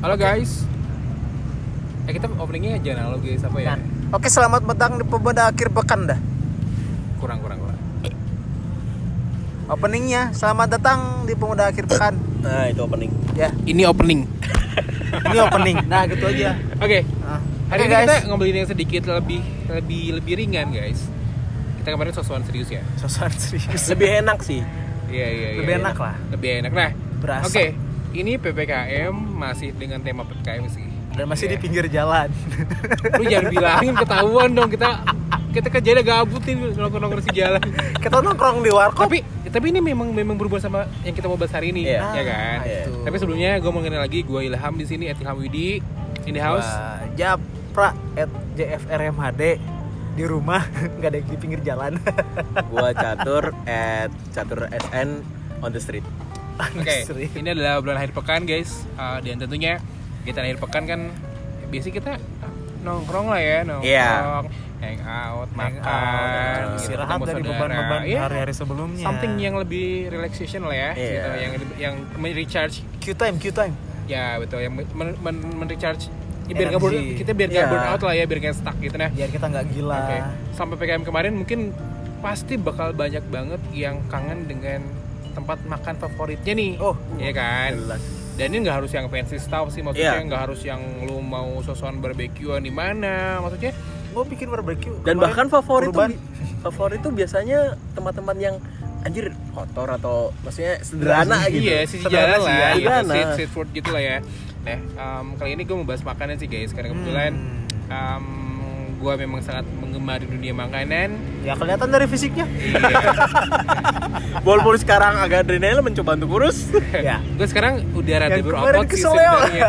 Halo guys. Eh kita openingnya aja analog guys apa ya? Nah, Oke, selamat petang di pada akhir pekan dah. Kurang kurang kurang. Openingnya, selamat datang di pemuda akhir pekan. Nah itu opening. Ya, Ini opening. ini opening. Nah, gitu aja. Oke. Nah, Hari oke, ini kita ngobrolin yang sedikit lebih lebih lebih ringan guys. Kita kemarin sosokan serius ya. sosokan serius. Lebih enak sih. Iya iya. iya, Lebih iya. enak lah. Lebih enak nah. Berasa. Oke. Ini ppkm masih dengan tema ppkm sih. Dan masih Iya. di pinggir jalan. Lu jangan bilangin ketahuan dong kita kita kerjanya gabut nih nongkrong-nongkrong si jalan. kita nongkrong di warkop. tapi tapi ini memang memang berhubungan sama yang kita mau bahas hari ini Iya. ya kan Nah, itu. tapi sebelumnya gue mau kenal lagi gue Ilham di sini at Ilham Widi in the house Wah, Japra at JFRMHD di rumah nggak ada yang di pinggir jalan Gua catur at catur SN on the street. oke Serius. ini adalah bulan akhir pekan guys Eh, dan tentunya kita akhir pekan kan biasanya kita nongkrong lah ya nongkrong Iya. hang out Hangout, makan gitu, istirahat ketemu dari saudara. beban-beban Iya, hari-hari sebelumnya something yang lebih relaxation lah ya Iya. gitu yang yang recharge Q time Q time ya betul yang men, men, men recharge Ya, biar nggak Energi. burn- kita biar nggak Iya. burn out lah ya biar nggak stuck gitu nah biar kita nggak gila Oke. Sampai PKM kemarin mungkin pasti bakal banyak banget yang kangen dengan tempat makan favoritnya nih. Oh, iya kan? jelas. Dan ini nggak harus yang fancy stuff sih maksudnya Iya. nggak harus yang lu mau sosokan barbekyuan di mana maksudnya gue bikin barbecue kemarin, Dan bahkan favorit kurban. tuh favorit tuh biasanya tempat-tempat yang anjir kotor atau maksudnya sederhana gitu. Iya, sisi Sederhana jalan sih, lah, gitu, sederhana. street, street food gitu lah ya. Nah, em, kali ini gue mau bahas makanan sih guys, karena kebetulan Hmm. gue memang sangat mengemari dunia makanan. ya kelihatan dari fisiknya Walaupun sekarang agak adrenalin mencoba untuk kurus. ya gue sekarang udah rada Yang kemarin berotot sih kesel ya. sebenarnya.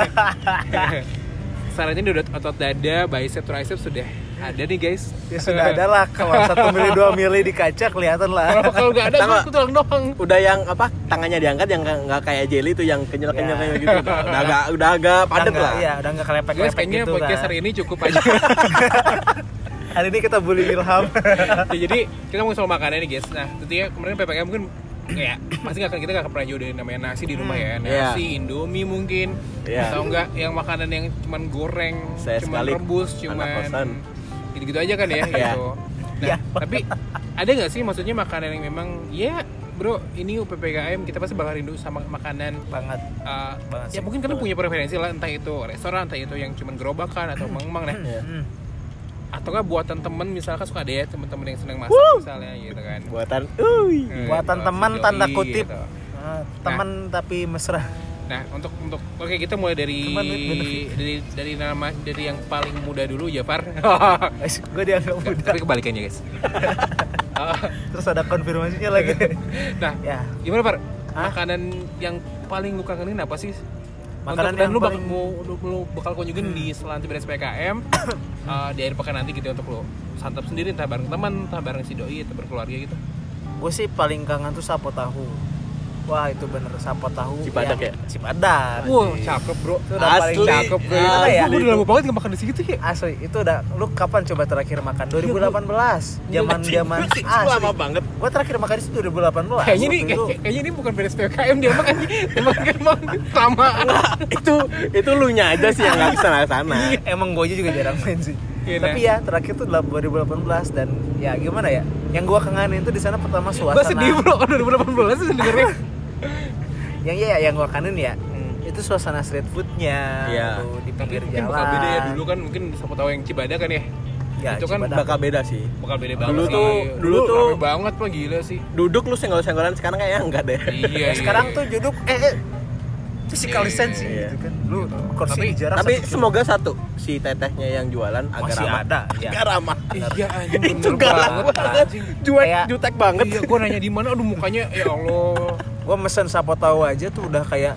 Sarannya udah otot dada, bicep, tricep sudah ada nih guys. ya sudah ada lah kalau satu mili dua mili di kaca kelihatan Kalau Oh, lah kalau nggak ada, Tangga. aku tulang doang. Udah yang apa tangannya diangkat yang nggak nggak kayak jelly tuh yang Ya. kenyal-kenyal Iya. kayak gitu. Udah udah agak udah agak padat Udah lah. nggak- ya udah nggak kelepek Guys, kelepek kayaknya gitu podcast kan hari ini cukup aja. hari ini kita bully Ilham Ya, jadi kita mau soal makanan nih guys. Nah, tentunya kemarin PPKM mungkin ya pasti nggak akan kita nggak akan pernah jauh dari namanya nasi di rumah ya Iya. nasi indomie mungkin Iya. atau enggak yang makanan yang cuman goreng Saya cuman sekali rebus anak cuman kosan. gitu-gitu aja kan ya Iya. gitu nah Iya. tapi ada nggak sih maksudnya makanan yang memang ya bro ini ppkm kita pasti bakal rindu sama makanan banget eh, Banget ya sih. mungkin kalian punya preferensi lah entah itu restoran entah itu yang cuman gerobakan atau mengembang nah Iya. Hmm. atau nggak buatan temen misalkan suka ada ya temen-temen yang senang masak misalnya gitu kan Buatan. Uy. Eh, Buatan gitu, teman, sejauh tanda ini, kutip. gitu. Ah, teman tapi mesra Nah, untuk untuk oke kita mulai dari Teman with benefit. dari dari nama dari yang paling muda dulu Jafar. gue dianggap Nah. muda Tapi kebalikannya, guys. Oh, terus ada konfirmasinya lagi nah, ya gimana, Par? Hah? Makanan yang paling lu kangenin apa sih? Makanan Untuk- dan yang lu bakal paling- Hmm. mau lu, lu bakal kunjungin di selanjutnya beres PKM eh, di akhir pekan nanti gitu ya, untuk lu santap sendiri entah bareng teman, entah bareng si doi atau berkeluarga gitu. gue sih paling kangen tuh sapo tahu wah itu bener sapo tahu Cibadak yang- ya? cibadak Wah, cakep, Bro. itu udah paling Asli. cakep Cakep, Bro. Gimana Gimana ya? ya? Gue udah lama banget gak makan di situ ya. asli itu udah lu kapan coba terakhir Iya, makan 2018 zaman zaman Ah, asli Lama banget. gue terakhir makan itu 2018 Kayaknya ini Waktu itu kayak- kayaknya ini bukan beres PKM dia makan emang emang kelamaan. itu itu lu nya aja sih yang nggak bisa sana emang gue juga jarang main sih Iya, tapi nah. ya terakhir tuh dalam 2018 dan ya gimana ya yang gue kangenin tuh di sana pertama Gue suasana sedih bro 2018 tuh dengernya. yang ya yang gue kangenin ya itu suasana street foodnya Iya. tuh, Tapi di pinggir mungkin jalan bakal beda ya dulu kan mungkin siapa tahu yang Cibada kan ya. Ya, itu kan Cibadak. bakal beda sih bakal beda banget. Dulu sih. tuh- dulu tuh- rame banget lah gila sih. duduk lu senggol-senggolan sekarang kayaknya enggak deh Iya. Ya, iya, sekarang iya. tuh judul eh, eh physical Iya, distancing iya, iya. gitu kan lu kursi Tapi- jarak tapi satu kilo. semoga satu si tetehnya yang jualan agak masih ramah ada ya agak ramah iya anjing itu bener galak banget. banget anjing. juek Kayak- jutek banget Iya, gue nanya di mana, aduh mukanya ya Allah. gua mesen sapo tahu aja tuh udah kayak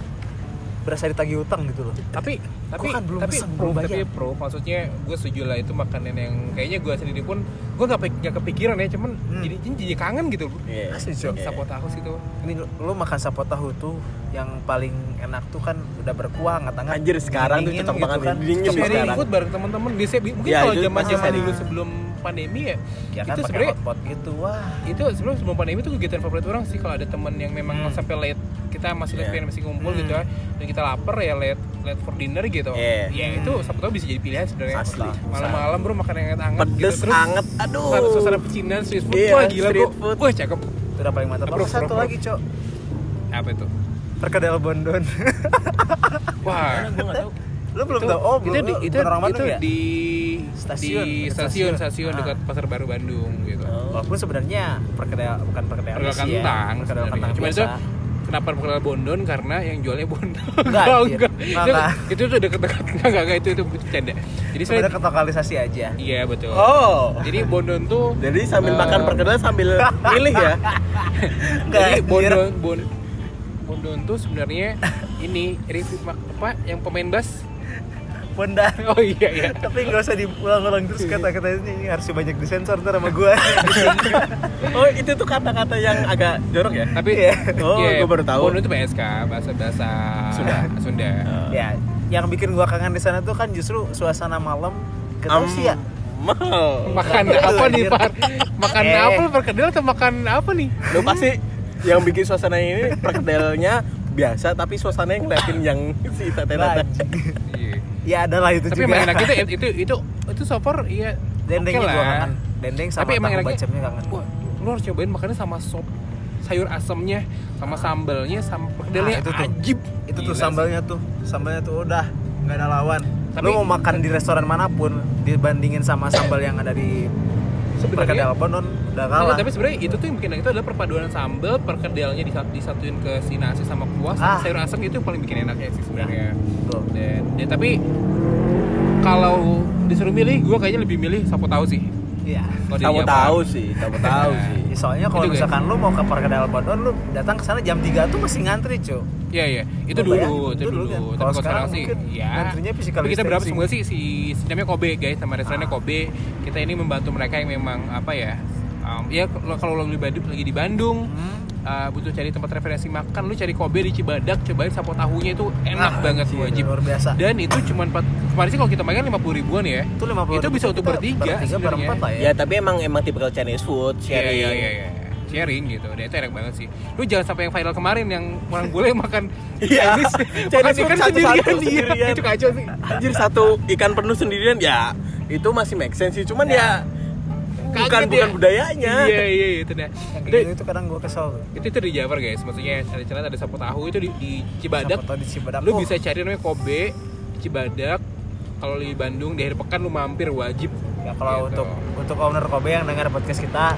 berasa ditagih utang gitu loh tapi tapi kan belum tapi pesen, pro, belum tapi bayar. pro maksudnya gue setuju lah itu makanan yang kayaknya gue sendiri pun gue nggak pe- nggak kepikiran ya cuman Hmm. jadi jadi jadi kangen gitu Iya. Asli, Cok. Iya. sapo tahu sih tuh ini lu- lu makan sapo tahu tuh yang paling enak tuh kan udah berkuah nggak anjir sekarang tuh Dingin cocok gitu banget kan. dingin sih sharing sekarang food bareng teman-teman biasanya bi- mungkin Ya, kalau itu zaman zaman masih dulu sering. sebelum pandemi ya, ya kan itu pakai sebenarnya hotpot gitu wah itu sebelum sebelum pandemi itu kegiatan favorit orang sih kalau ada teman yang memang Hmm. sampai late kita masih Iya. late pengen masih ngumpul Hmm. gitu ya dan kita lapar ya late late for dinner gitu Iya. ya itu siapa tahu bisa jadi pilihan sebenarnya Asli. malam-malam bro makan yang gitu. gitu anget Pedes, anget, aduh. suasana- suasana pecinan street food Iya, wah gila bro street food. wah cakep itu udah paling mantap Approve, Terus satu approve. lagi cok apa itu perkedel Bondon wah gue nggak tahu lu belum tau oh itu belum di, lu itu, bukan orang itu Bandung ya di Stasiun, di dekat stasiun stasiun. stasiun Ah. dekat pasar baru Bandung gitu walaupun sebenarnya perkedel bukan perkedel perkedel sih ya, kentang perkedel sebenarnya. kentang Cuma biasa itu kenapa perkedel bondon karena yang jualnya bondon Enggak, Oh, anjir. enggak. Enggak, Itu- enggak. itu tuh dekat-dekat enggak enggak enggak, itu itu bercanda jadi saya sebenarnya ketokalisasi aja iya betul oh jadi bondon tuh jadi sambil makan Eh. perkedel sambil milih ya Enggak, jadi anjir. bondon bon, bondon tuh sebenarnya ini review ma- apa yang pemain bass Bondar oh iya iya tapi nggak usah diulang-ulang terus kata-kata ini, ini harus banyak disensor ntar sama gua oh itu tuh kata-kata yang agak jorok ya tapi Iya. Oh, gua baru tahu. bondon itu PSK bahasa bahasa Sunda. Sunda ya yang bikin gua kangen di sana tuh kan justru suasana malam ke Am- sih ya mahal makan Enggak, apa nih anjir. Far? makan Eh. apel perkedel atau makan apa nih lo pasti yang bikin suasana ini perkedelnya biasa tapi suasananya ngeliatin yang si tete-tete Nah, Anjing. Iya. ya adalah itu tapi juga emang enak itu itu itu itu so far iya dendengnya oke gua lah. kangen dendeng sama tapi emang tahu enaknya bacemnya kangen wah lu harus cobain makannya sama sop sayur asemnya sama sambalnya sama Ah, perkedelnya itu tuh. ajib itu Gila tuh sih. sambalnya tuh sambalnya tuh udah nggak ada lawan Tapi- lu mau makan di restoran manapun dibandingin sama sambal yang ada di sebenarnya perkedel Bondon udah Tapi- kalah Iya, tapi sebenarnya itu tuh yang bikin enak itu adalah perpaduan sambal perkedelnya disat- disatuin ke si nasi sama kuah sama Ah. sayur asem itu yang paling bikin enak ya sih sebenarnya Tuh. dan ya, tapi kalau disuruh milih gue kayaknya lebih milih sapo tahu sih iya Kalau dia tahu nyaman. tahu sih tahu tahu sih Ya, soalnya kalau Itu Gitu juga. misalkan lu mau ke perkedel Bondon lu datang ke sana jam 3 tuh masih ngantri cuy Iya iya, itu Lu bayangin, dulu, itu dulu dulu. kan. Tapi Kalau kalau sekarang sekarang sih, mungkin ya. ngantrinya physical Tapi kita berapa distancing. Ah. sebenarnya sih si si namanya Kobe guys, sama restorannya Kobe. Kita ini membantu mereka yang memang apa ya? um, ya kalau kalau lo lagi di Bandung- lagi di Bandung uh, butuh cari tempat referensi makan, lu cari Kobe di Cibadak, cobain sapo tahunya itu enak Ah, banget anjir, wajib. luar biasa Dan itu cuma empat kemarin sih kalau kita makan lima puluh ribuan ya. itu 50 Itu bisa kita untuk bertiga bertiga sebenarnya. berempat lah ya ya tapi emang emang tipikal Chinese food Iya, sharing iya, iya, iya. sharing gitu, dan itu enak banget sih. Lu jangan sampai yang viral kemarin yang orang boleh makan Iya. Chinese, makan Chinese ikan satu-satu, sendirian, iya. sendirian. itu kacau sih. anjir satu ikan penuh sendirian ya itu masih make sense sih cuman ya, bukan Kaget bukan ya. budayanya Iya iya itu dah. yang kayak Itu gitu itu kadang gua kesel tuh. itu, itu di Jabar guys, maksudnya ada cerita ada sapu tahu itu di, di Cibadak. Siapa tahu di Cibadak Lu Oh, bisa cari namanya Kobe Cibadak. Kalau di Bandung di akhir pekan lu mampir wajib. ya kalau Gitu. untuk untuk owner Kobe yang dengar podcast kita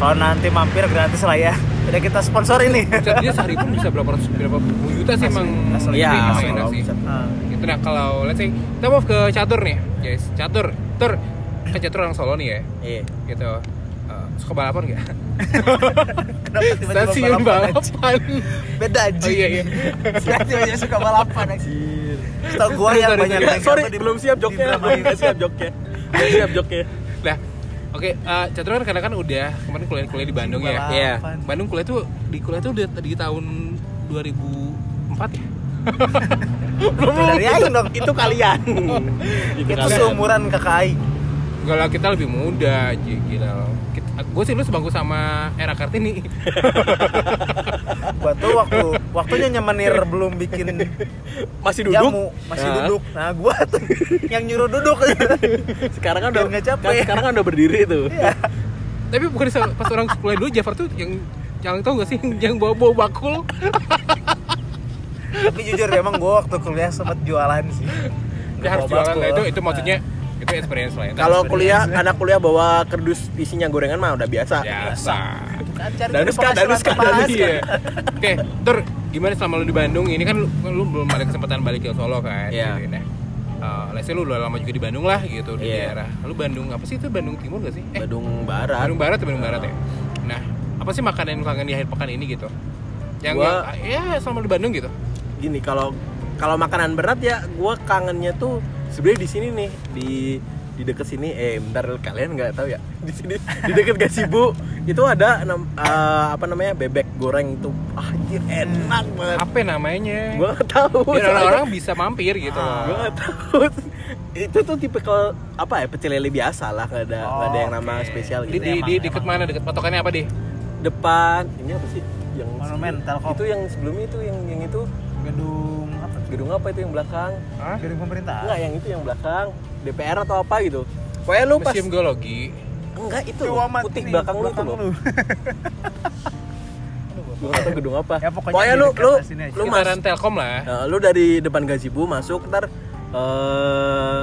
kalau nanti mampir gratis lah ya udah kita sponsor ini Bisa- Dia sehari pun bisa berapa ratus berapa puluh juta sih emang. Itu asli. ya emang asli. enak kalau sih. bisa. Ah. Gitu nah kalau let's say kita mau ke catur nih guys, catur, tur ke catur orang Solo nih ya, Iya. gitu. Eh, suka balapan nggak? kenapa tiba-tiba Stasiun balapan, anjing? balapan. beda aja Oh iya iya. tiba-tiba suka balapan tau gua yang Sorry, banyak sorry. naik sorry apa di- belum siap di joknya drama belum ini. siap joknya belum siap joknya Nah, oke, eh Chandra kan kadang kan udah kemarin kuliah-kuliah di Bandung ya. Balapan. Iya. Bandung kuliah tuh di kuliah tuh udah di tahun 2004 ya. Itu dari Aing dong itu kalian itu kalian. seumuran kakak Aing Enggak lah kita lebih muda aja gila. Gue sih lu sebangku sama era Kartini. gua tuh waktu waktunya nyemenir belum bikin masih duduk jamu masih Nah. duduk nah gua tuh yang nyuruh duduk sekarang kan Biar udah nggak capek. kan sekarang kan udah berdiri tuh Tapi bukan di saat- pas orang kuliah dulu Jafar tuh yang yang tau gak sih yang bawa-bawa bakul tapi jujur emang gua waktu kuliah sempet jualan sih dia harus Bawa Nah, jualan lah itu bakul. itu maksudnya itu experience lah ya. kalau kuliah anak kuliah bawa kerdus isinya gorengan mah udah biasa biasa Kan cari Danuska, penghasilan Danuska, tambahan. Danuska. Iya. Oke, Tur, gimana selama lu di Bandung? Ini kan lu, lu belum ada kesempatan balik ke Solo kan? Iya. Gitu, nah, Eh, let's say lu udah lama juga di Bandung lah gitu di Iya. daerah. Lu Bandung apa sih itu Bandung Timur gak sih? Eh, Bandung Barat Bandung Barat ya Bandung Barat ya. Nah, apa sih makanan yang lu kangen di akhir pekan ini gitu? Yang, Gua- yang ya selama di Bandung gitu. gini kalau kalau makanan berat ya gue kangennya tuh sebenarnya di sini nih di di deket sini eh bentar kalian nggak tahu ya di sini di deket gasibu itu ada nam- eh, apa namanya bebek goreng itu ah, anjir enak banget Apa namanya? gue nggak tahu Biar soalnya- orang-orang bisa mampir gitu. Ah. Gua nggak tahu itu tuh tipikal apa ya pecel lele biasa lah nggak ada nggak ada yang nama Oh, Oke. spesial Di, gitu di, di deket mana? Deket patokannya apa deh? depan ini apa sih yang Monumen, Telkom. itu yang sebelumnya itu yang yang itu gedung apa tuh? Gedung apa itu yang belakang? Hah? gedung pemerintah Enggak, yang itu yang belakang DPR atau apa gitu. Pokoknya lu pas Museum geologi. enggak itu loh, putih belakang lu itu loh. Gua nggak tahu gedung apa. Ya, pokoknya di lu dekat lu sini aja. lu mas, Sekitaran Telkom lah. Nah, lu dari depan gazebo masuk ntar eh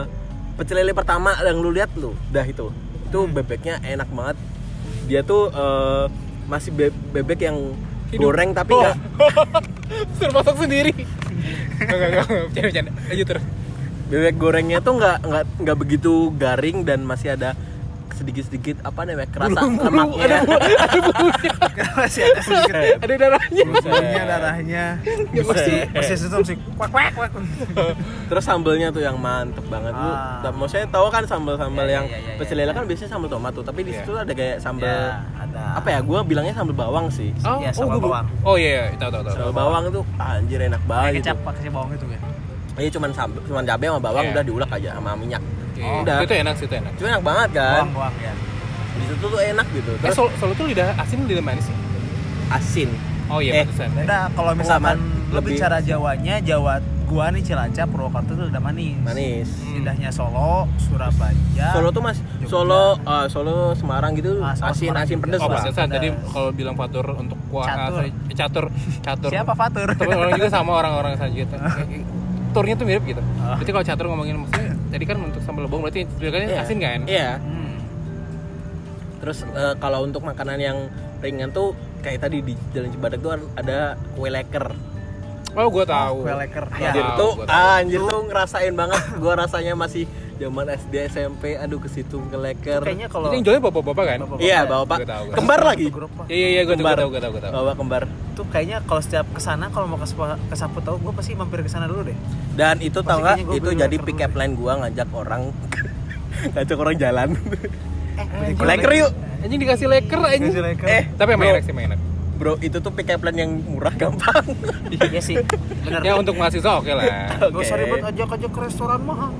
pecel lele pertama yang lu lihat lu dah itu itu bebeknya enak banget dia tuh eh, masih be- bebek yang Hidup. goreng tapi Oh. nggak Suruh masak sendiri. Enggak, enggak, enggak. Bercanda, bercanda. Lanjut terus. bebek gorengnya tuh nggak nggak nggak begitu garing dan masih ada sedikit sedikit apa namanya kerasa lemaknya masih ada sedikit Ada darahnya. bulunya darahnya Ya, masih. masih itu masih kuak kuak kuak terus sambelnya tuh yang mantep banget lu Ah. ta- maksudnya tahu kan sambel sambel Ya, ya, yang ya, ya, Iya. pecel lele kan biasanya sambel tomat tuh tapi di Ya. situ ada kayak sambel Ya, ada. apa ya gue bilangnya sambel bawang sih Oh, Iya, sambal gua- bawang. Oh iya, iya, tahu tahu tahu. sambel bawang tuh ah, anjir enak banget kecap gitu. pakai si bawang itu ya Iya cuman sambel cuman cabe sama bawang Iya. udah diulek aja sama minyak. Oke. Udah. Itu enak sih, itu enak. Cuma enak banget kan. bawang bawang ya Di situ tuh enak gitu. Eh, Terus Solo, Solo tuh lidah asin lidah manis sih. asin. Oh iya, Eh, pantesan. Nah, kalau misalkan Pengalaman lebih lebih- cara Jawanya, Jawa gua nih Cilacap, Purwakarta tuh udah manis. Manis. Hmm. Lidahnya Solo, Surabaya. Solo tuh mas Ah. Jogja. Solo eh, Solo Semarang gitu Ah, Solo, asin Semarang asin juga. pedes Oh, lah. pantesan Pedas. tadi kalau bilang fatur untuk kuah Catur. sorry, eh, catur, catur. Siapa Fatur? Tapi orang juga sama orang-orang saja gitu. Turnya tuh mirip gitu. Ah. Berarti kalau catur ngomongin maksudnya tadi kan untuk sambal bawang berarti jadikannya Iya. asin kan? Iya. Hmm. Terus eh, kalau untuk makanan yang ringan tuh kayak tadi di Jalan Cibadak tuh ada kue leker. Oh, gua tahu. Kue leker. Ya. Anjir Tahu, tuh, Iya, ah, gua tahu. anjir tuh ngerasain banget. Gua rasanya masih zaman SD SMP. Aduh ke situ ke leker. Kayaknya kalau Itu yang jualnya bapak-bapak kan? Bapak-bapak. Iya, bawa pak. Gua tahu, gua tahu. Kembar lagi. Satu grup, Pak. Iya iya iya gua tahu Kembar. gua tahu gua tahu. gua tahu. Bawa kembar. Tuh kayaknya kalau setiap kesana kalau mau ke Sepa- ke Sapu Tahu, gua pasti mampir ke sana dulu deh. Dan itu tau nggak? kayaknya gua Itu beli jadi leker pick dulu up line gua ngajak orang ngajak orang jalan. Eh, Ke leker yuk. Anjing dikasih leker anjing. Kasih leker. Eh, Tapi emang Bro. enak sih, emang enak. Bro, itu tuh pick up line yang murah gampang. Iya sih. Bener. Ya untuk mahasiswa oke lah. Oke. Ya, Gak usah ribet ajak aja ke restoran mahal.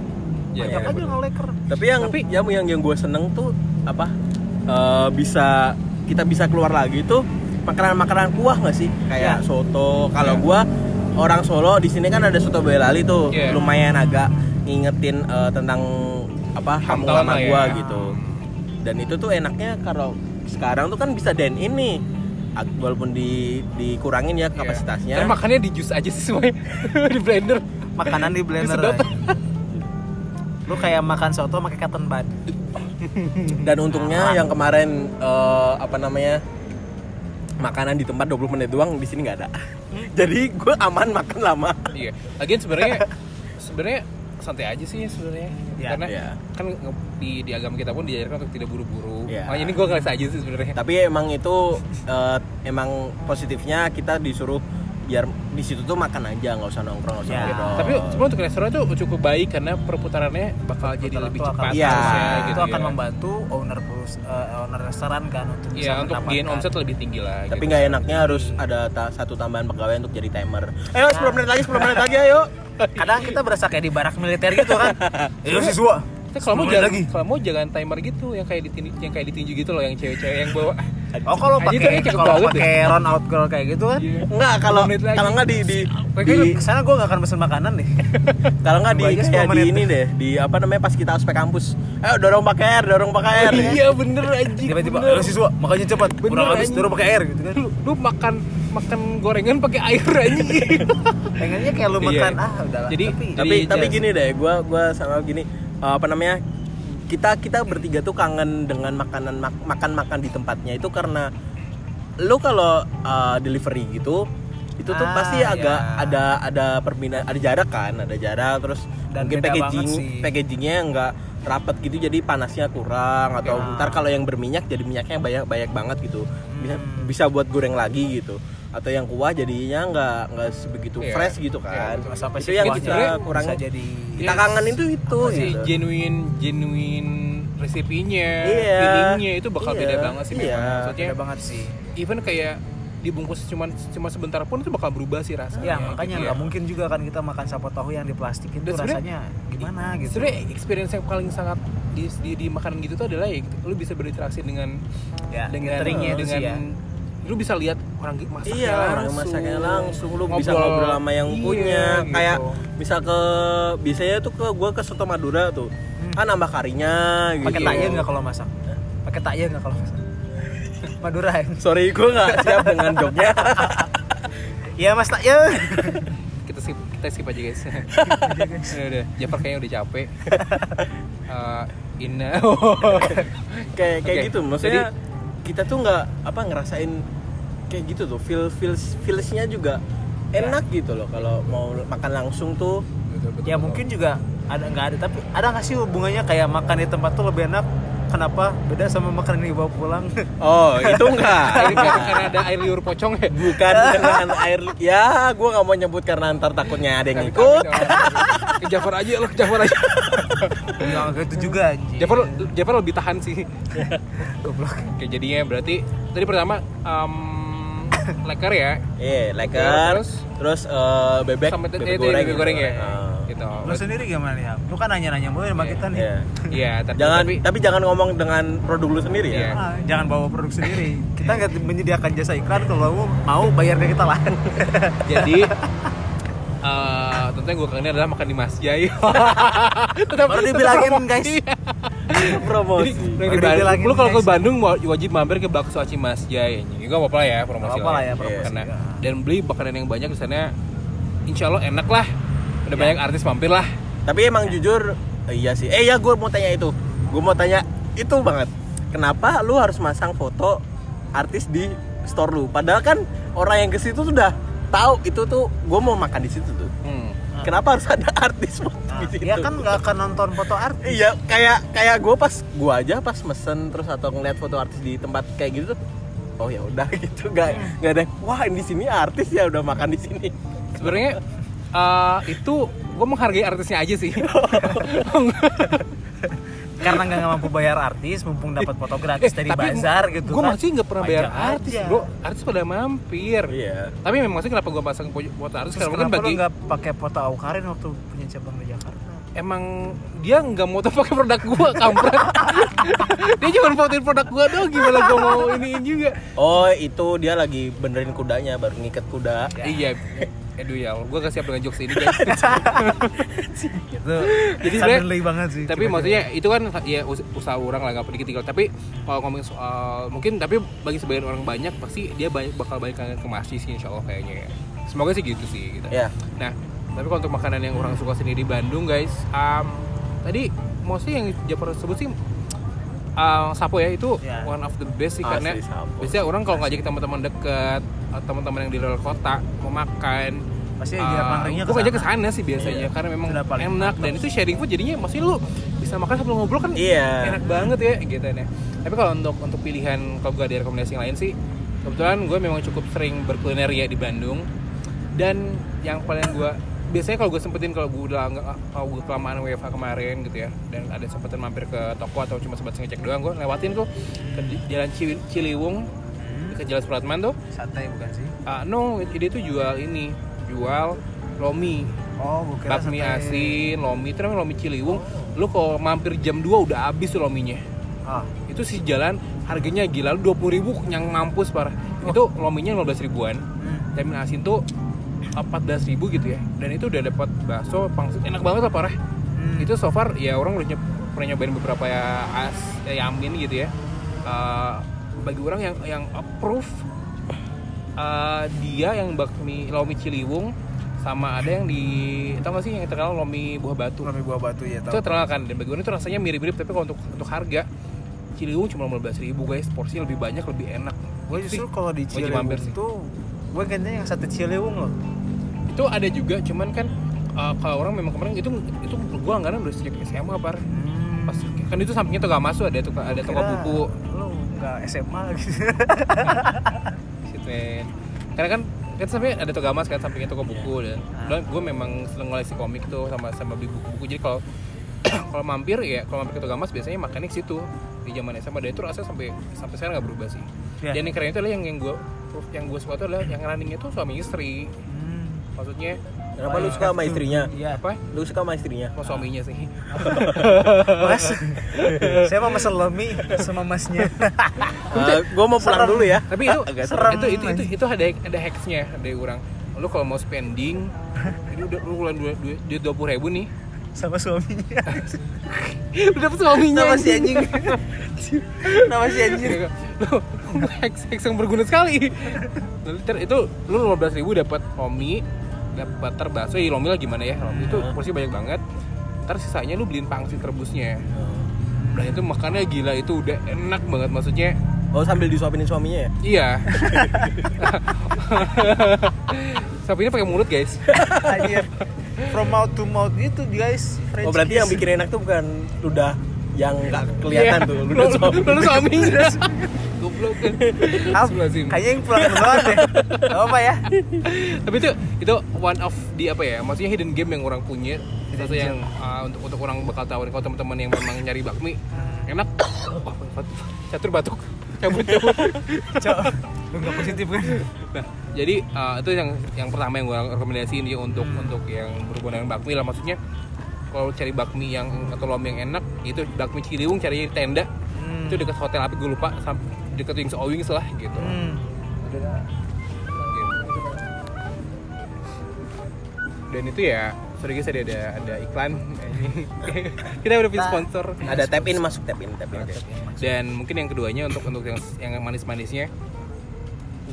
Iya, iya, Ajak aja bener. ngeleker. Tapi yang Tapi- yang yang, yang gua seneng tuh apa? Eh, bisa kita bisa keluar lagi tuh makanan-makanan kuah nggak sih? Kayak Iya. Ya. soto. Kalau Ya. gua orang Solo di sini kan ada soto boyolali tuh. Iya. Lumayan agak ngingetin eh, tentang apa kampung Kampung lama lah ya. gua gitu. Dan itu tuh enaknya kalau sekarang tuh kan bisa dine in nih. Ag- Walaupun di dikurangin ya Iya. kapasitasnya. Kan makannya di jus aja sih semuanya di blender. Makanan di blender. Disedot. aja. Lu kayak makan soto pakai cotton bud. Dan Nah. untungnya yang kemarin eh, apa namanya makanan di tempat 20 menit doang di sini nggak ada. Hmm. Jadi gue aman makan lama. Iya. Lagian sebenarnya sebenarnya santai aja sih sebenarnya. Iya, Karena iya. kan nge- di di agama kita pun diajarkan untuk tidak buru-buru. Iya. Makanya ini gue ngerasa aja sih sebenarnya. Tapi emang itu eh, emang positifnya kita disuruh biar di situ tuh makan aja nggak usah nongkrong nggak usah gitu. Ya. nongkrong. Tapi sebenarnya untuk restoran itu cukup baik karena perputarannya bakal jadi Itu lebih akan- cepat Iya. harusnya itu gitu akan ya. membantu owner perus- eh, owner restoran kan untuk bisa Iya, untuk gain mendapatkan- omset lebih tinggi lah. tapi gitu. nggak enaknya harus ada ta- satu tambahan pegawai untuk jadi timer. Ayo Nah. 10 menit lagi 10 menit lagi ayo. kadang kita berasa kayak di barak militer gitu kan ayo siswa Tapi kalau mau Sepuluh menit jangan lagi. kalau mau jangan timer gitu yang kayak ditinju yang kayak ditinju gitu loh yang cewek-cewek yang bawa. oh kalau Aji tadi pakai cakep kalau banget pakai round out girl kayak gitu kan Iya. kan Enggak kalau 10 menit lagi. kalau nggak di di, Mereka di- di sana gue gak akan pesen makanan nih kalau nggak di Bagus, kayak 10 di menit. ini deh di apa namanya pas kita ospek kampus. Ayo dorong pakai air, dorong pakai air. ya. Iya bener aja. ya. tiba-tiba ayo siswa makanya cepat Bener, kurang habis anjing. turun pakai air gitu kan lu, lu makan makan gorengan pakai air anjing. pengennya kayak lu Iya. makan ah udahlah Jadi- tapi tapi Jadi, tapi ya. gini deh gua gua sama gini eh, apa namanya kita kita bertiga tuh kangen dengan makanan mak- makan makan di tempatnya itu karena lu kalau eh, delivery gitu itu tuh Ah, pasti agak ya. ada ada perbedaan ada jarak kan ada jarak terus Dan mungkin beda packaging banget sih. packagingnya nggak rapat gitu jadi panasnya kurang atau Ya. ntar kalau yang berminyak jadi minyaknya banyak banyak banget gitu bisa Hmm. bisa buat goreng lagi gitu atau yang kuah jadinya nggak nggak sebegitu Iya. fresh gitu kan Nggak sampai itu yang kuahnya kita bisa Iya. kurang bisa jadi kita Yes. kangen itu itu si gitu. genuine genuine resepinya Iya. feelingnya itu bakal beda Iya. banget sih Iya. memang maksudnya beda banget sih even kayak dibungkus cuman cuma sebentar pun itu bakal berubah sih rasanya Iya, ya makanya gitu nggak mungkin juga kan kita makan sapo tahu yang di plastik itu Dan sebenarnya- rasanya gimana gitu sebenarnya experience yang paling sangat di, di, di makanan gitu tuh adalah ya gitu, lu bisa berinteraksi dengan ya Iya, dengan gatheringnya itu dengan sih ya lu bisa lihat orang gi- masaknya Iya, langsung. orang masaknya langsung lu bisa Ngobrol. ngobrol sama yang Iya, punya. Kayak gitu. bisa ke biasanya tuh ke gua ke soto Madura tuh. Ah nambah karinya gitu. pakai takye nggak kalau masak pakai takye nggak kalau masak Madura ya Sorry, gua nggak siap dengan joknya. iya mas takye kita skip kita skip aja guys udah udah Jafar kayaknya udah capek Eh, in kayak kayak Oke. gitu. Maksudnya Jadi- kita tuh nggak apa ngerasain kayak gitu tuh. Feel feel feelsnya juga enak gitu loh kalau mau makan langsung tuh ya mungkin juga ada nggak ada tapi ada nggak sih hubungannya kayak makan di tempat tuh lebih enak kenapa beda sama makan yang dibawa pulang oh itu enggak Ini karena karena ada air liur pocong ya bukan dengan air ya gua nggak mau nyebut karena ntar takutnya ada yang Kami- ikut kami dong. ke Eh, Jafar aja lo ke Jafar aja nggak gitu juga anjing Jafar Jafar lebih tahan sih goblok oke jadinya berarti tadi pertama em leker ya Iya, leker. Terus? Terus, eh, bebek, sama tadi tadi bebek goreng, kan. Ah. bebek goreng ya Heeh. gitu lu sendiri gimana nih Ham? lu kan nanya-nanya mulu sama Iya, kita nih Iya. iya tapi Jangan, tapi, tapi- jangan ngomong dengan produk lu sendiri Iya. ya. Ah, jangan bawa produk sendiri kita nggak menyediakan jasa iklan kalau lu mau bayar ke kita lah jadi eh tentunya gue kangen adalah makan di Mas Jai tetap tetap Baru dibilangin, promosi. guys. Jadi, Promosi. yang di Baru dibilangin, Bandung, lu kalau ke guys. Bandung wa- wajib mampir ke Bakso Aci Mas Jai. Ini gak apa-apa lah ya promosi. Nggak apa-apa lah ya, promosi. Karena, Iya. dan beli makanan yang banyak di sana insya Allah enak lah. Udah Ya. banyak artis mampir lah. Tapi emang jujur, eh, iya sih. Eh ya, gue mau tanya itu. Gue mau tanya itu banget. Kenapa lu harus masang foto artis di store lu? Padahal kan orang yang ke situ tuh udah tahu itu tuh gue mau makan di situ tuh. Hmm. Kenapa harus ada artis foto Nah, Ah, di situ? iya dia kan nggak akan nonton foto artis Iya, kayak kayak gue pas gue aja pas mesen terus atau ngeliat foto artis di tempat kayak gitu tuh, oh ya udah gitu gak Iya. nggak ada wah di sini artis ya udah makan di sini Sebenarnya eh, itu gue menghargai artisnya aja sih. karena nggak mampu bayar artis mumpung dapat foto Eh, gratis dari bazar gitu Gue kan. masih nggak pernah bayar Pajak artis aja. bro. Artis pada mampir. iya Tapi memang sih kenapa gue pasang po- foto artis Terus karena kenapa mungkin bagi... bagi lu nggak pakai foto Aukarin waktu punya cabang di Jakarta? emang dia nggak mau tuh pakai produk gua kampret dia cuma fotoin produk gua doang gimana gua mau iniin juga oh itu dia lagi benerin kudanya baru ngikat kuda iya aduh ya Allah, gua gak siap dengan jokes ini guys Gitu. Jadi Jadi sebenarnya- suddenly banget sih. tapi maksudnya itu kan ya us- usaha orang lah nggak peduli tinggal tapi kalau ngomongin soal mungkin tapi bagi sebagian orang banyak pasti dia banyak bakal balik kangen ke masjid sih insya Allah kayaknya ya semoga sih gitu sih gitu. ya Nah, tapi kalau untuk makanan yang orang suka sendiri di Bandung, guys, um, tadi mostly yang Jafar sebut sih uh, sapo ya itu Ya. one of the best sih Asli karena sapo. biasanya orang kalau ngajak teman-teman dekat atau teman-teman yang di luar kota mau makan pasti uh, dia pangringnya gua ngajak ke sana sih biasanya Iya. karena memang Sudah paling enak mantap dan itu sharing food jadinya maksudnya lu bisa makan sambil ngobrol kan iya enak banget ya gitu ya. Tapi kalau untuk untuk pilihan kalau gue ada rekomendasi yang lain sih kebetulan gue memang cukup sering berkuliner ya di Bandung dan yang paling gue biasanya kalau gue sempetin kalau gue udah nggak- kalau gue kelamaan WFH kemarin gitu ya dan ada sempetin mampir ke toko atau cuma sempat ngecek doang gue lewatin tuh ke di- jalan Ci- Ciliwung ke Jalan Supratman tuh Santai bukan sih? ah, no dia tuh jual ini jual lomi Oh, bukan. bakmi asin lomi itu namanya lomi Ciliwung lu kalau mampir jam 2 udah habis tuh lominya Ah, itu sih jalan harganya gila lu dua ribu kenyang mampus parah itu lominya 15 ribuan jamin asin tuh 14 ribu gitu ya dan itu udah dapat bakso pangsit enak banget lah parah Hmm. itu so far ya orang udah nyep, pernah nyobain beberapa ya as ya, yamin gitu ya Eh, bagi orang yang yang approve eh, dia yang bakmi lomi ciliwung sama ada yang di tau gak sih yang terkenal lomi buah batu Rame buah batu ya itu tahu. terkenal kan dan bagaimana itu rasanya mirip-mirip tapi kalau untuk untuk harga Ciliwung cuma 15.000 ribu guys porsinya lebih banyak lebih enak Gue justru kalau di Wajib mampir sih. Ciliwung tuh gue gantinya yang satu Ciliwung loh. itu ada juga cuman kan uh, kalau orang memang kemarin itu itu gua langganan udah sejak SMA par pas kan itu sampingnya toko masuk ada toko ada toko Hmm, Kira buku Lu enggak SMA gitu. Shit, man. karena gitu kan kan sampai ada toko mas kan sampingnya toko buku dan dan gue memang seneng koleksi komik tuh sama sama beli buku-buku jadi kalau kalau mampir ya kalau mampir ke toko mas biasanya makannya ke situ di zaman SMA dan itu rasanya sampai sampai sekarang nggak berubah sih Ya. dan yang keren itu adalah yang yang gue yang gue suka itu adalah yang runningnya tuh suami istri Hmm. maksudnya Kenapa lu suka sama istrinya? Iya. Apa? Lu suka sama istrinya? Sama suaminya sih. Mas, saya mau mesen lemi sama masnya. Eh, gue mau pulang Serem. dulu ya. Tapi itu Agak serem. itu itu itu, itu ada ada hacksnya dari orang. Lu kalau mau spending, itu udah lu keluar dua dua dua puluh ribu nih. sama suaminya. Udah dapet suaminya. Nama si anjing. Nama si anjing. Iya, kan? lu hacks hacks yang berguna sekali. Lalu ter- itu lu lima belas ribu dapat lomi, dapat butter bakso. Ya lomi lah gimana ya? Lomi itu porsi banyak banget. Ntar sisanya lu beliin pangsit rebusnya. Udah itu makannya gila itu udah enak banget maksudnya Oh sambil disuapinin suaminya ya? Iya. Sapi ini pakai mulut guys. Anjir. From mouth to mouth itu guys. French Oh berarti kiss. yang bikin enak tuh bukan ludah yang nggak kelihatan tuh, ludah Lu- suami. lu- lu Iya. suaminya. Goblok kan. Ah, Astagfirullahaladzim. kayaknya yang pulang banget deh. Gak apa ya? Tapi itu itu one of di apa ya? Maksudnya hidden game yang orang punya. Sesuatu yang uh, untuk untuk orang bakal tawarin kalau teman-teman yang memang nyari bakmi enak. Wah, batuk. catur batuk. Cabut cabut. Cok. Enggak positif kan? Nah, jadi eh, itu yang yang pertama yang gue rekomendasiin dia untuk untuk yang berhubungan dengan bakmi lah maksudnya kalau cari bakmi yang atau lomi yang enak itu bakmi Ciliwung cari di tenda Hmm. itu dekat hotel apa gue lupa sam- dekat Wings O Wings lah gitu. Hmm. Gitu. Dan itu ya sorry guys tadi ada ada iklan kita udah punya sponsor Ada tap in masuk tap in tap in. Oke. Dan mungkin yang keduanya untuk untuk yang yang manis-manisnya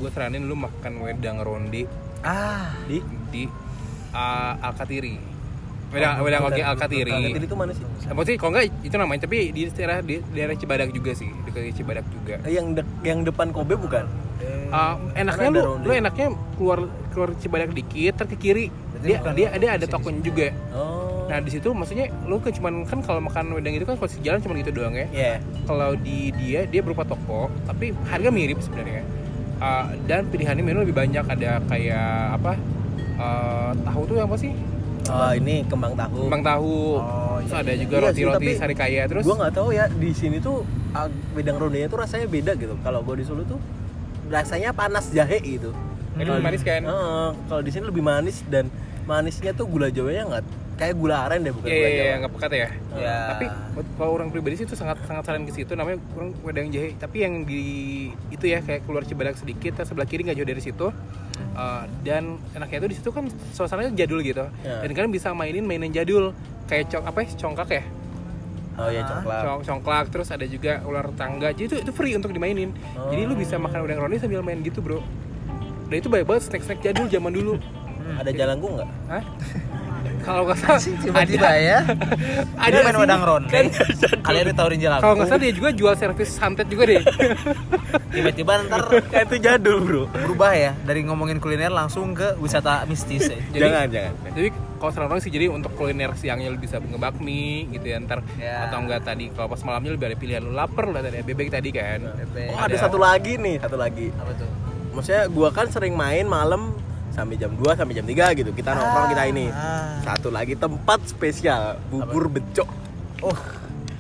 gue saranin lu makan wedang ronde Ah, Di di uh, Alkatiri. Oh, Wedang wedang oke Alkatiri. Eh, Alkatiri itu mana sih? Maksudnya kalau enggak itu namanya tapi di daerah di daerah Cibadak juga sih, dekat Cibadak juga. Eh, Yang dek- yang depan Kobe bukan? Uh, enaknya Karena lu, ada ronde. lu enaknya keluar keluar Cibadak dikit ter ke kiri. Dia dia dia ada tokonya juga. Oh. Nah, di situ maksudnya lu kan cuman kan kalau makan wedang itu kan kalau jalan cuma gitu doang ya. Iya. Kalau di dia dia berupa toko, tapi harga mirip sebenarnya. Uh, dan pilihannya menu lebih banyak ada kayak apa? uh, tahu tuh apa sih? Oh, ini kembang tahu. kembang tahu Oh, terus iya, ada iya. juga Iya sih, roti-roti tapi sari kaya terus gue nggak tahu ya di sini tuh ah, wedang rondenya tuh rasanya beda gitu. Kalau gue di Solo tuh rasanya panas jahe gitu. Ini lebih manis kan Heeh, kalau di sini lebih manis dan manisnya tuh gula jawanya nggak kayak gula aren deh bukan Iya, gula iya, iya, jawa. nggak pekat ya. Iya. Tapi buat- kalau orang pribadi sih itu sangat sangat saran ke situ. Namanya kurang wedang jahe. Tapi yang di itu ya kayak keluar Cibadak sedikit, terus sebelah kiri nggak jauh dari situ. Eh, dan enaknya itu di situ kan suasananya jadul gitu. Iya. Dan kalian bisa mainin mainan jadul kayak cong apa ya congkak ya, Oh ya coklat. Cong- congklak. Terus ada juga ular tangga. Jadi itu itu free untuk dimainin. Jadi lu bisa makan wedang ronde sambil main gitu bro. Dan itu banyak banget snack-snack jadul zaman dulu. Hmm. Ada jalangku nggak? Hah? Kalau nggak salah tiba-tiba ya. ada Ada main sih. wedang ronde. Kalian ditawarin jalan. Kalau nggak salah dia juga jual servis santet juga deh. tiba-tiba ntar Kayak itu jadul bro. berubah ya dari ngomongin kuliner langsung ke wisata mistis ya. Jadi- jangan jangan. Jadi kalau saran orang sih jadi untuk kuliner siangnya lu bisa ngebakmi gitu ya ntar Ya. atau enggak tadi kalau pas malamnya lebih ada pilihan lu lapar lah tadi ada bebek tadi kan. Bebek. Oh ada satu lagi nih satu lagi. Apa tuh? Maksudnya gua kan sering main malam sampai jam 2 sampai jam 3 gitu kita nongkrong kita ini ah. satu lagi tempat spesial bubur becok Oh,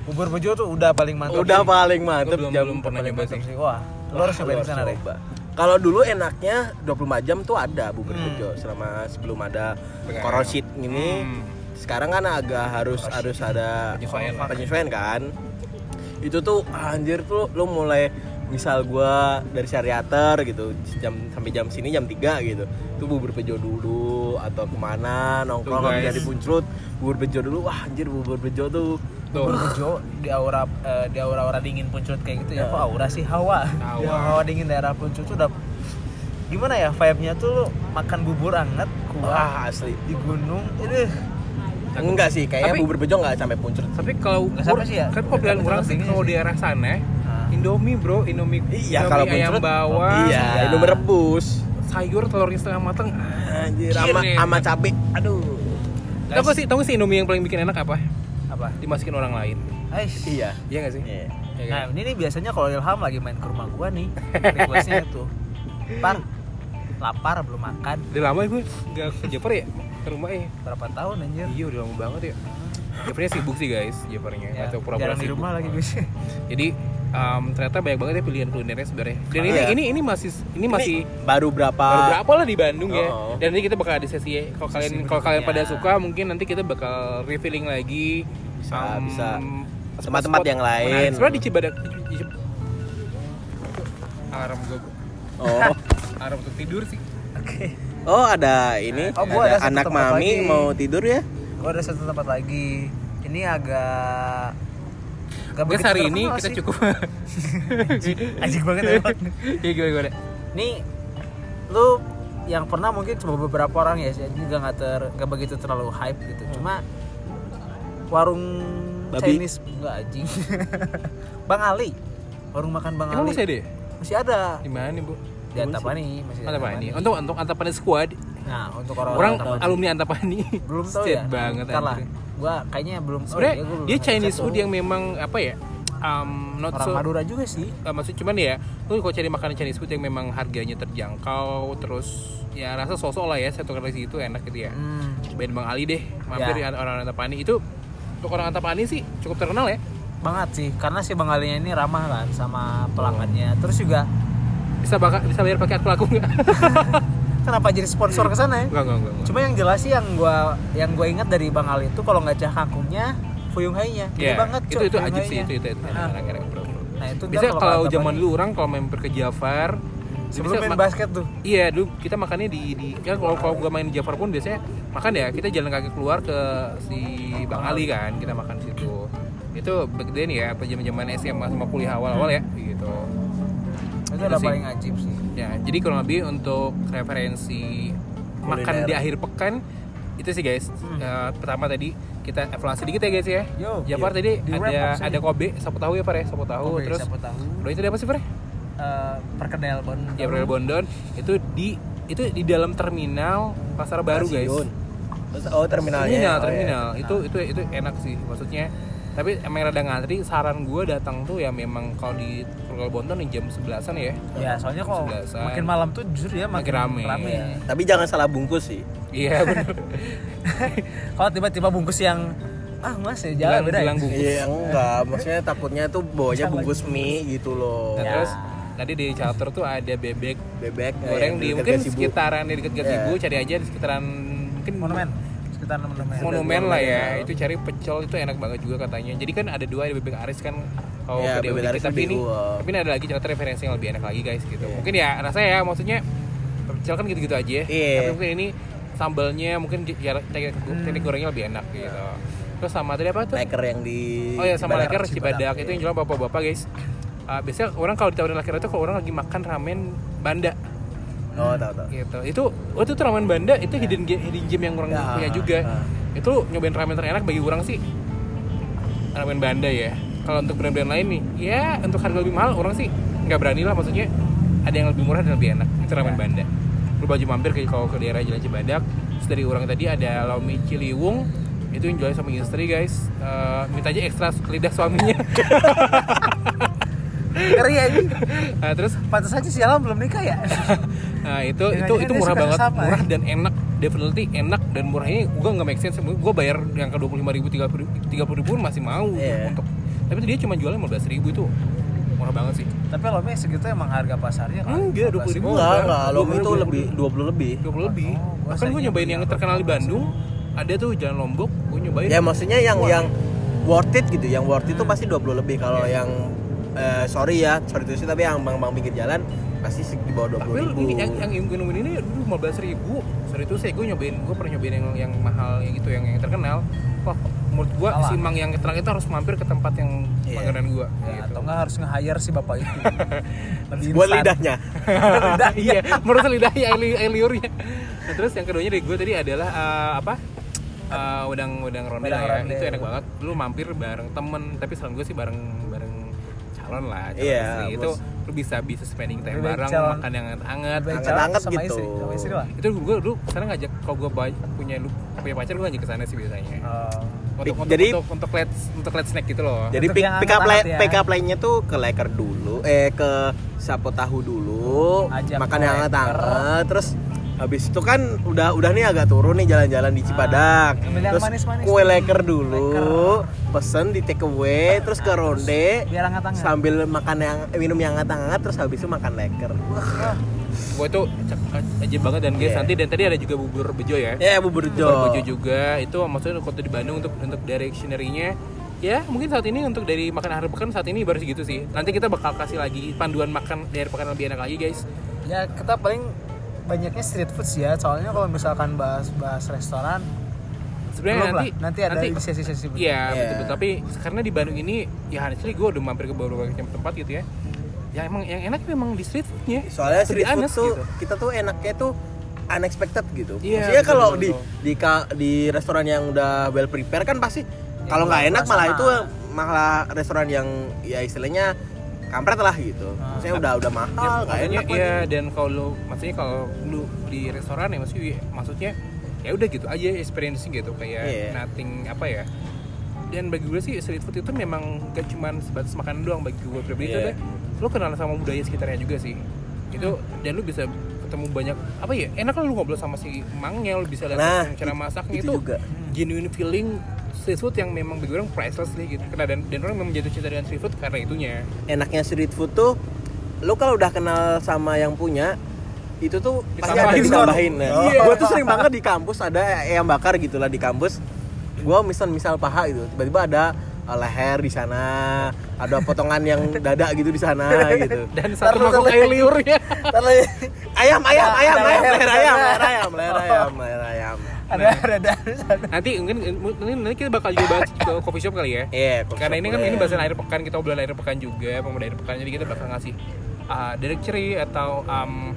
bubur bejo tuh udah paling mantap. udah paling Gue mantep belum, jam belum pernah paling nyoba mantep. sih. sih. Wah, lu harus cobain Lu di sana deh. coba. Kalau dulu enaknya 24 jam tuh ada bubur bejo selama sebelum ada Hmm. Benar. korosit ini. Hmm. Sekarang kan agak harus harus ada Penyesuaian lah. penyesuaian kan. Itu tuh anjir tuh lu mulai misal gua dari Syariater gitu jam sampai jam sini jam 3 gitu itu bubur bejo dulu atau kemana nongkrong Tuh, habis guys. dari puncrut bubur bejo dulu wah anjir bubur bejo tuh Tuh. Bubur bejo di aura eh, di aura-aura dingin puncut kayak gitu ya. Kok aura sih hawa? Iya. Hawa. Di hawa dingin daerah puncut tuh udah gimana ya vibe-nya tuh lu makan bubur anget kuah wah asli di gunung. Aduh. enggak sih kayaknya Tapi- bubur bejo nggak sampai puncrut Tapi kalau Nggak sampai sih ya. Tapi kalau pilihan Tapi orang sih tetep ini kalau sih. daerah sana Ah. Indomie bro, Indomie, Iya Indomie kalau ayam muncul bawang, Iya, Iya. itu merebus. sayur telurnya setengah mateng. Ah, Anjir Anjir, sama nih. sama cabe. Aduh. Tahu nggak sih, tahu nggak sih Indomie yang paling bikin enak apa? Apa? Dimasukin orang lain. Aish. Iya. Iya nggak sih? Iya. Iya kan? Nah, ini nih biasanya kalau Ilham lagi main ke rumah gua nih, requestnya itu. Par, lapar belum makan. Udah lama ya gue nggak ke Jepar ya ke rumah ya. Berapa tahun anjir? Iya udah lama Iya, banget ya. Jeppernya sibuk sih guys, Jeppernya. Atau pura-pura jarang di sibuk. rumah lagi guys. Jadi em, ternyata banyak banget ya pilihan kulinernya sebenarnya. Dan ini, Iya. ini ini masih ini masih baru berapa? baru berapa lah di Bandung ya. Oh. Dan nanti kita bakal ada sesi ya. Kalau kalian kalau kalian pada berikutnya. suka mungkin nanti kita bakal refilling lagi. Bisa, em, bisa. spot-spot Tempat-tempat yang lain. menarik. Sebenarnya di Cibadak di- di Cib- alarm gue Oh. alarm untuk tidur sih. Oh, ada ini. Oh, gua ada satu ada anak tempat mami lagi. mau tidur ya? Gue ada satu tempat lagi. Ini agak agak Guys begitu hari ini terkenal kan kita sih. cukup. Anjing banget emang. Ya gimana gimana? Nih lu yang pernah mungkin cuma beberapa orang ya, jadi juga nggak ter nggak begitu terlalu hype gitu. Hmm. Cuma warung Babi. Chinese enggak anjing. Bang Ali. Warung makan Bang Emang Ali. masih ada? ya? Masih ada. Di mana bu? Di Antapani masih ada. Antapani. Untuk untuk Antapani Squad. Nah, untuk orang-orang oh. Orang Antapani. alumni Antapani. belum tahu State ya. banget. Ntar lah. anjir. Gua kayaknya belum oh, Sebenarnya iya, gua belum dia ngecek Chinese tuh. food yang memang apa ya? Um, not orang so Madura juga sih. Eh, maksud cuman ya lu kalau cari makanan Chinese food yang memang harganya terjangkau terus ya rasa sosok lah ya satu kali itu enak gitu ya Hmm. cobain Bang Ali deh mampir Ya. di orang Antapani itu untuk orang Antapani sih cukup terkenal ya Banget sih, karena si Bang Alinya ini ramah kan sama pelanggannya. Terus juga bisa bakal bisa bayar pakai akun aku nggak kenapa jadi sponsor ke sana ya? nggak nggak nggak nggak. Cuma yang jelas sih yang gua yang gua ingat dari Bang Ali itu kalau nggak cah kangkungnya, fuyung hai-nya. Gede ya banget itu cuy, itu fuyung ajib sih hai-nya. itu itu, itu. Ah. enak enak bro, bro. Nah, itu ntar Biasanya kalau ke zaman Antapani. dulu orang kalau mampir ke Jafar dia sebelum bisa main ma- basket tuh. Iya, dulu kita makannya di di kan kalau kalau gua main di Jafar pun biasanya makan ya kita jalan kaki keluar ke si Bang Ali kan, kita makan di situ. Itu back then ya, apa zaman-zaman SMA sama kuliah awal-awal Hmm. ya gitu. Itu Itu udah sih. paling ajib sih. Ya, jadi kurang lebih untuk referensi makan Kuliner. di akhir pekan itu sih guys. Eh, pertama tadi kita evaluasi dikit ya guys ya. Hmm. Yo, Jafar yo. tadi Di wrap ada up sini. ada Kobe, sapu tahu ya Far ya, sapu tahu Kobe, terus siapa tahu. Udah itu ada apa sih Far? Eh, perkedel bon. Gabriel Bondon itu di itu di dalam terminal Pasar Baru guys. Stasiun. Oh, Terminal, terminalnya. Oh, ya. terminal. Itu itu itu enak sih maksudnya. Tapi emang rada ngantri, saran gue datang tuh ya memang kalau di Gabriel Bondon nih jam 11-an ya. Ya, soalnya kalau Sebelasan. makin malam tuh jujur ya makin, Makin rame. iya. Tapi jangan salah bungkus sih. Iya benar. Kalau tiba-tiba bungkus yang ah mas ya Jalan jalan beda. bilang bungkus. Iya, enggak. Maksudnya takutnya tuh bawanya bungkus mie gitu loh. Nah, Ya. terus tadi di charter tuh ada bebek Bebek goreng kayak di Ya, dekat mungkin gazebo. sekitaran di dekat Gazebo, Iya. cari aja di sekitaran mungkin Monumen sekitar monumen. monumen lah ya itu cari pecel itu enak banget juga katanya jadi kan ada dua ada bebek aris kan kalau Ya, gede bebek dikit, aris tapi lebih ini gua. tapi ini ada lagi cerita referensi yang lebih enak lagi guys gitu mungkin ya rasanya ya maksudnya pecel kan gitu-gitu aja ya Iya. tapi mungkin ini sambalnya mungkin di- ya, teknik, Hmm. teknik gorengnya lebih enak gitu terus sama tadi apa tuh Leker yang Iya. di oh ya sama Cibadak. iya. leker cibadak itu yang jual bapak-bapak guys Ah, biasanya orang kalau ditawarin leker itu kalau orang lagi makan ramen banda Oh, tahu tahu. gitu itu oh itu tuh ramen banda itu hidden ga- hidden gem yang orang Ya, punya juga ya. itu nyobain ramen terenak bagi orang sih ramen banda ya kalau untuk brand-brand lain nih ya untuk harga lebih mahal orang sih nggak berani lah maksudnya ada yang lebih murah dan lebih enak itu ramen Ya. banda lu baju mampir ke kalau ke daerah Jalan Cibadak Terus dari orang tadi ada Laomi Ciliwung itu yang jualnya sama istri guys Eh, minta aja ekstra lidah suaminya Keren ya ini. Nah, terus Pantas aja si Alam belum nikah ya. Nah itu Jangan-jangan itu itu dia murah suka banget, sama, ya? murah dan enak, definitely enak dan murahnya gue nggak make sense. Gue bayar yang ke dua puluh lima ribu, tiga puluh ribu pun masih mau gitu Iya. untuk. Tapi itu dia cuma jualnya lima belas ribu itu murah banget sih. Tapi Alami segitu emang harga pasarnya kan. Enggak dua puluh ribu. Enggak, enggak. Lo itu lebih 20 lebih. dua puluh lebih. Oh, gua Bahkan gue sayangnya nyobain beli yang yang terkenal di Bandung, ada tuh jalan Lombok, gue nyobain. Ya maksudnya yang yang worth it gitu. Yang worth it tuh pasti 20 lebih. Kalau Iya. yang eh, sorry ya, sorry tuh sih tapi yang bang-bang pinggir jalan pasti se- di bawah 20 Tapi ribu. ini yang yang gue nemuin ini dulu lima belas ribu. Sorry itu saya gue nyobain, gue pernah nyobain yang yang mahal yang gitu, yang yang terkenal. Wah, menurut gue Kalah. si Mang yang terkenal itu harus mampir ke tempat yang Iya. langganan gue. Ya, gitu. atau enggak harus nge-hire si bapak itu. Lebih Buat instan. lidahnya. lidah iya merusak lidahnya air, li- air liurnya nah, terus yang keduanya dari gue tadi adalah eh, apa Eh, wedang wedang ronde Wedang lah ya ronde. itu enak banget lu mampir bareng temen tapi saran gue sih bareng bareng calon lah calon Iya, istri. itu lu bisa bisa spending time Lebih baik bareng calon- makan yang hangat Lebih calon Angkat-angkat sama gitu. Istri, sama istri lah. itu gue dulu kesana ngajak kalau gue ba- punya lu punya pacar gue ngajak kesana sih biasanya Oh. untuk untuk, Jadi- untuk untuk let's untuk let's snack gitu loh Jadi Untuk pick, yang pick up hangat-hangat line, ya. pick up line-nya tuh ke leker dulu, eh ke sapo tahu dulu, Ajak makan ke yang hangat-hangat, terus habis itu kan udah udah nih agak turun nih jalan-jalan di Cibadak. ambil Ah, yang terus manis-manis kue nih. leker dulu, pesen di take away terus ke Ah, ronde biar hangat hangat sambil makan yang minum yang hangat-hangat terus habis itu makan leker. gue tuh aja banget dan guys Iya. nanti dan tadi ada juga bubur bejo ya Ya bubur Bubur jo. bejo juga itu maksudnya kota di Bandung untuk untuk directionary-nya ya mungkin saat ini untuk dari makan hari pekan saat ini baru segitu sih nanti kita bakal kasih lagi panduan makan dari pekan lebih enak lagi guys ya kita paling banyaknya street food sih ya soalnya kalau misalkan bahas bahas restoran sebenarnya belum nanti lah. nanti ada di sesi-sesi Iya berikutnya. Iya. betul, betul tapi karena di Bandung ini ya honestly gue udah mampir ke beberapa tempat gitu ya ya emang yang enak memang di street foodnya Soalnya To be street food honest, tuh gitu. kita tuh enaknya tuh unexpected gitu. Iya, Maksudnya betul, kalau betul, di betul. di ka- di restoran yang udah well prepared kan pasti kalau nggak kurang enak malah berasa. itu malah restoran yang ya istilahnya kampret lah gitu. Ah. Maksudnya udah udah ya, mahal, nggak maksudnya enak iya lagi. dan kalau lu maksudnya kalau lu di restoran ya maksudnya maksudnya ya udah gitu aja experiencing gitu kayak Iya. nothing apa ya dan bagi gue sih street food itu memang gak cuman sebatas makanan doang bagi gue pribadi itu Iya. adalah lu kenal sama budaya sekitarnya juga sih itu Hmm. dan lu bisa ketemu banyak apa ya enak lah lu ngobrol sama si mangnya lu bisa lihat Nah, langsung cara itu- masaknya itu itu, juga. genuine feeling street food yang memang bagi orang priceless nih gitu karena dan, dan orang memang jatuh cinta dengan street food karena itunya Enaknya street food tuh lu kalau udah kenal sama yang punya itu tuh pasti ada Ditambahin. ditambahin. Nah, Iya. Gua tuh sering banget di kampus ada ayam bakar gitu lah di kampus. Gua misal misal paha gitu, tiba-tiba ada eh, leher di sana, ada potongan yang dada gitu di sana gitu. dan satu Ntar lu- mangkok air liurnya Ntar lagi Ayam, ayam, Ada- ayam, ada ayam, leher, leher ada leher. ayam, leher ayam, leher ayam, leher ayam. ada ada ada nanti mungkin nanti, nanti kita bakal juga bahas ke coffee shop kali ya Iya, karena ini kan boleh. ini bahasan akhir pekan kita obrolan akhir pekan juga pemuda akhir pekan jadi kita bakal ngasih uh, directory atau um,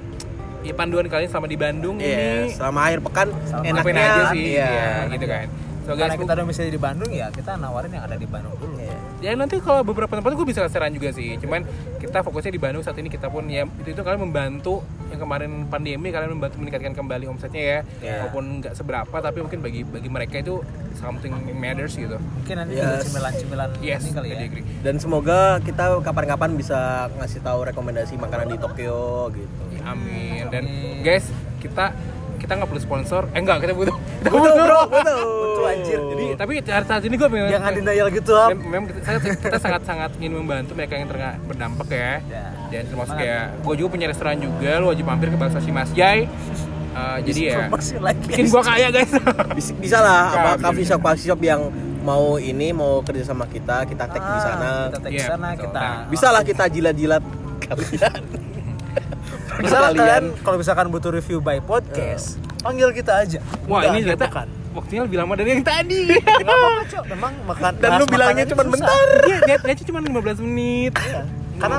ya, panduan kalian sama di Bandung Iya, ini selama akhir pekan Sama ngapain enaknya aja sih Iya. ya, gitu kan so guys karena kita udah misalnya di Bandung ya kita nawarin yang ada di Bandung dulu Iya. ya nanti kalau beberapa tempat gue bisa saran juga sih cuman kita fokusnya di Bandung saat ini kita pun ya itu itu kalian membantu yang kemarin pandemi kalian membantu meningkatkan kembali omsetnya ya Iya. walaupun nggak seberapa tapi mungkin bagi bagi mereka itu something matters gitu mungkin nanti Yes. juga cemilan-cemilan yes ini kali ya I agree. Dan semoga kita kapan-kapan bisa ngasih tahu rekomendasi makanan di Tokyo gitu. Ya, Amin. Dan guys, kita kita nggak perlu sponsor. Eh enggak, kita butuh. Kita Betul, butuh. bro, betul. Betul, anjir. Jadi, tapi saat saat ini gue memang jangan denial gitu am memang kita, saya- kita sangat-sangat ingin membantu mereka yang terkena berdampak ya. Ya. Dan termasuk ya, gue juga punya restoran juga. Lu wajib mampir ke Bakso Si Mas Jai. Eh, jadi ya, Promosi lagi bikin gue kaya guys. Bis- bisa lah apa Nah, coffee shop coffee shop yang mau ini mau kerja sama kita kita tag di sana Ah, kita tag di Iya, sana betul. kita Nah, bisa lah kita jilat-jilat kalian bisa lah kalian Eh. kalau misalkan butuh review by podcast panggil kita aja Wah Udah, ini akhir ternyata pekan. waktunya lebih lama dari yang tadi. Gak apa-apa, Cok. Memang makan Dan bahas lu bilangnya makanan cuman itu susah. bentar. Iya, niat- niatnya cuma 15 menit. Karena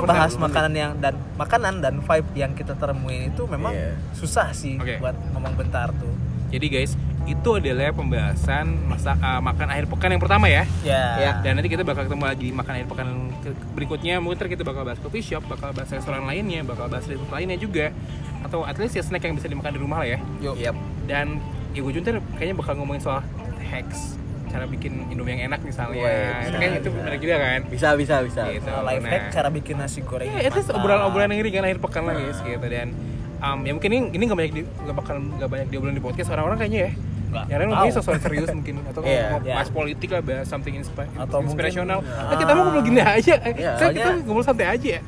Nggak bahas pernah. makanan yang dan makanan dan vibe yang kita temuin itu memang Iya. susah sih Oke. buat ngomong bentar tuh. Jadi guys, itu adalah pembahasan masa eh, makan akhir pekan yang pertama ya. Ya. Dan nanti kita bakal ketemu lagi di makan akhir pekan ke- berikutnya. Mungkin ntar kita bakal bahas coffee shop, bakal bahas restoran lainnya, bakal bahas restoran lainnya juga. Atau at least ya snack yang bisa dimakan di rumah lah ya. Yap. Dan ya gue juga ntar kayaknya bakal ngomongin soal hacks cara bikin indomie yang enak misalnya. Wah, itu kan itu menarik juga kan. bisa bisa bisa Gitu. Nah, life Nah. hack cara bikin nasi goreng. Ya, itu mantap. obrolan-obrolan yang ringan akhir pekan lah guys gitu dan um, ya mungkin ini ini nggak banyak di, nggak bakal nggak banyak diobrolin di podcast orang-orang kayaknya ya. Nggak Yang lain tahu. mungkin soal serius mungkin atau Iya. mau Iya. bahas politik lah bahas something inspi- Atau mungkin- inspirational. Nah, Ah. kita mau ngobrol gini aja. Eh, Iya, saya kita soalnya- ngobrol santai aja ya.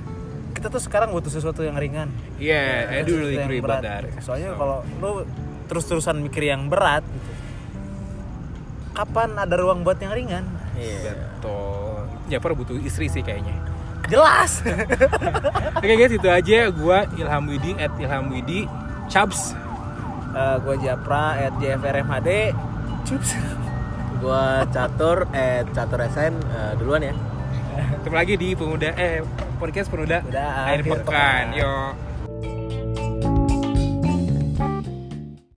Kita tuh sekarang butuh sesuatu yang ringan. Iya, I do really Sesuatu yang agree berat. gitu. about that. Soalnya So, kalau lu terus-terusan mikir yang berat gitu, kapan ada ruang buat yang ringan? Iya. betul. Jafar butuh istri sih kayaknya. Jelas. Oke guys, itu aja gua Ilham Widi at Ilham Widi Chaps. Eh, gua Japra at JFRMHD. Cups. gua catur eh catur SN eh, duluan ya Ketemu lagi di pemuda eh podcast pemuda Pemuda akhir Akhir pekan. Pekan. Yo.